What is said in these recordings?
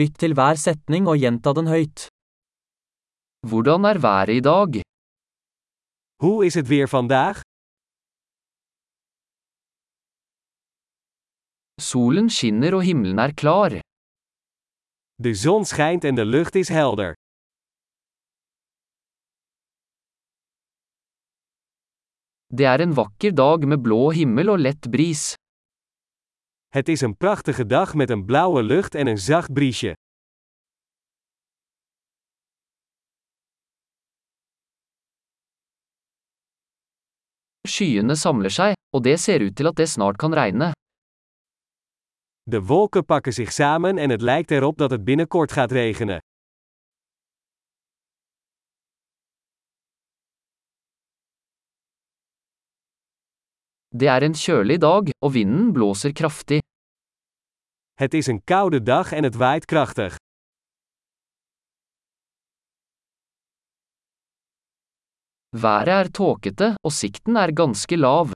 Lytt til hver setning og gjenta den høyt. Hvordan er været i dag? Hoe is het weer vandaag? Solen skinner og himmelen er klar. De zon schijnt en de lucht is helder. Det er en vakker dag med blå himmel og lett bris. Het is een prachtige dag met een blauwe lucht en een zacht briesje. Skyene samler seg, og det ser ut til at det snart kan regne. De wolken pakken zich samen en het lijkt erop dat het binnenkort gaat regenen. Det er en kjølig dag, og vinden blåser kraftig. Het is een koude dag en het waait krachtig. Været er tåkete, og sikten er ganske lav.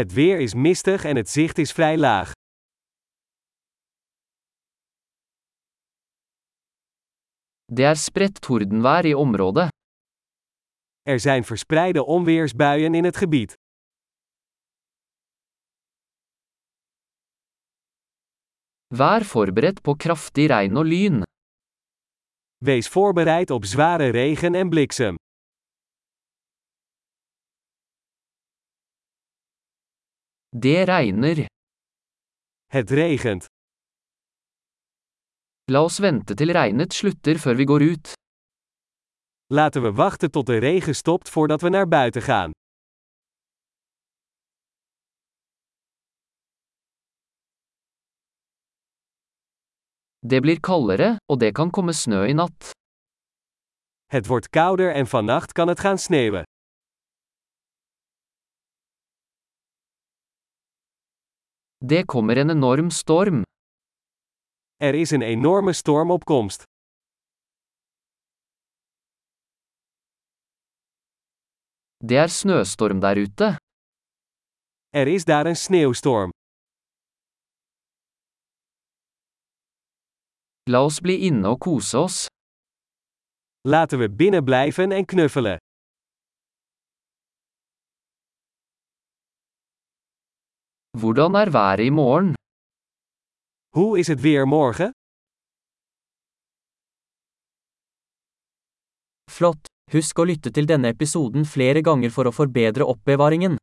Het weer is mistig en het zicht is vrij laag. Det er spredt tordenvær i området. Er zijn verspreide onweersbuien in het gebied. Vær forberedt på kraftig regn og lyn. Wees voorbereid op zware regen en bliksem. Det regner. Het regent. La oss vente til regnet slutter før vi går ut. Laten we wachten tot de regen stopt voordat we naar buiten gaan. Det blir kaldere, og det kan komme snø i natt. Het wordt kouder en vannacht kan het gaan sneeuwen. Det kommer en enorm storm. Er is een enorme storm op komst. Det er snøstorm der ute. Er is daar een sneeuwstorm. La oss bli inne og kose oss. Laten we binnen blijven en knuffelen. Hvordan er været i morgen? Hoe is het weer morgen? Flott! Husk å lytte til denne episoden flere ganger for å forbedre oppbevaringen.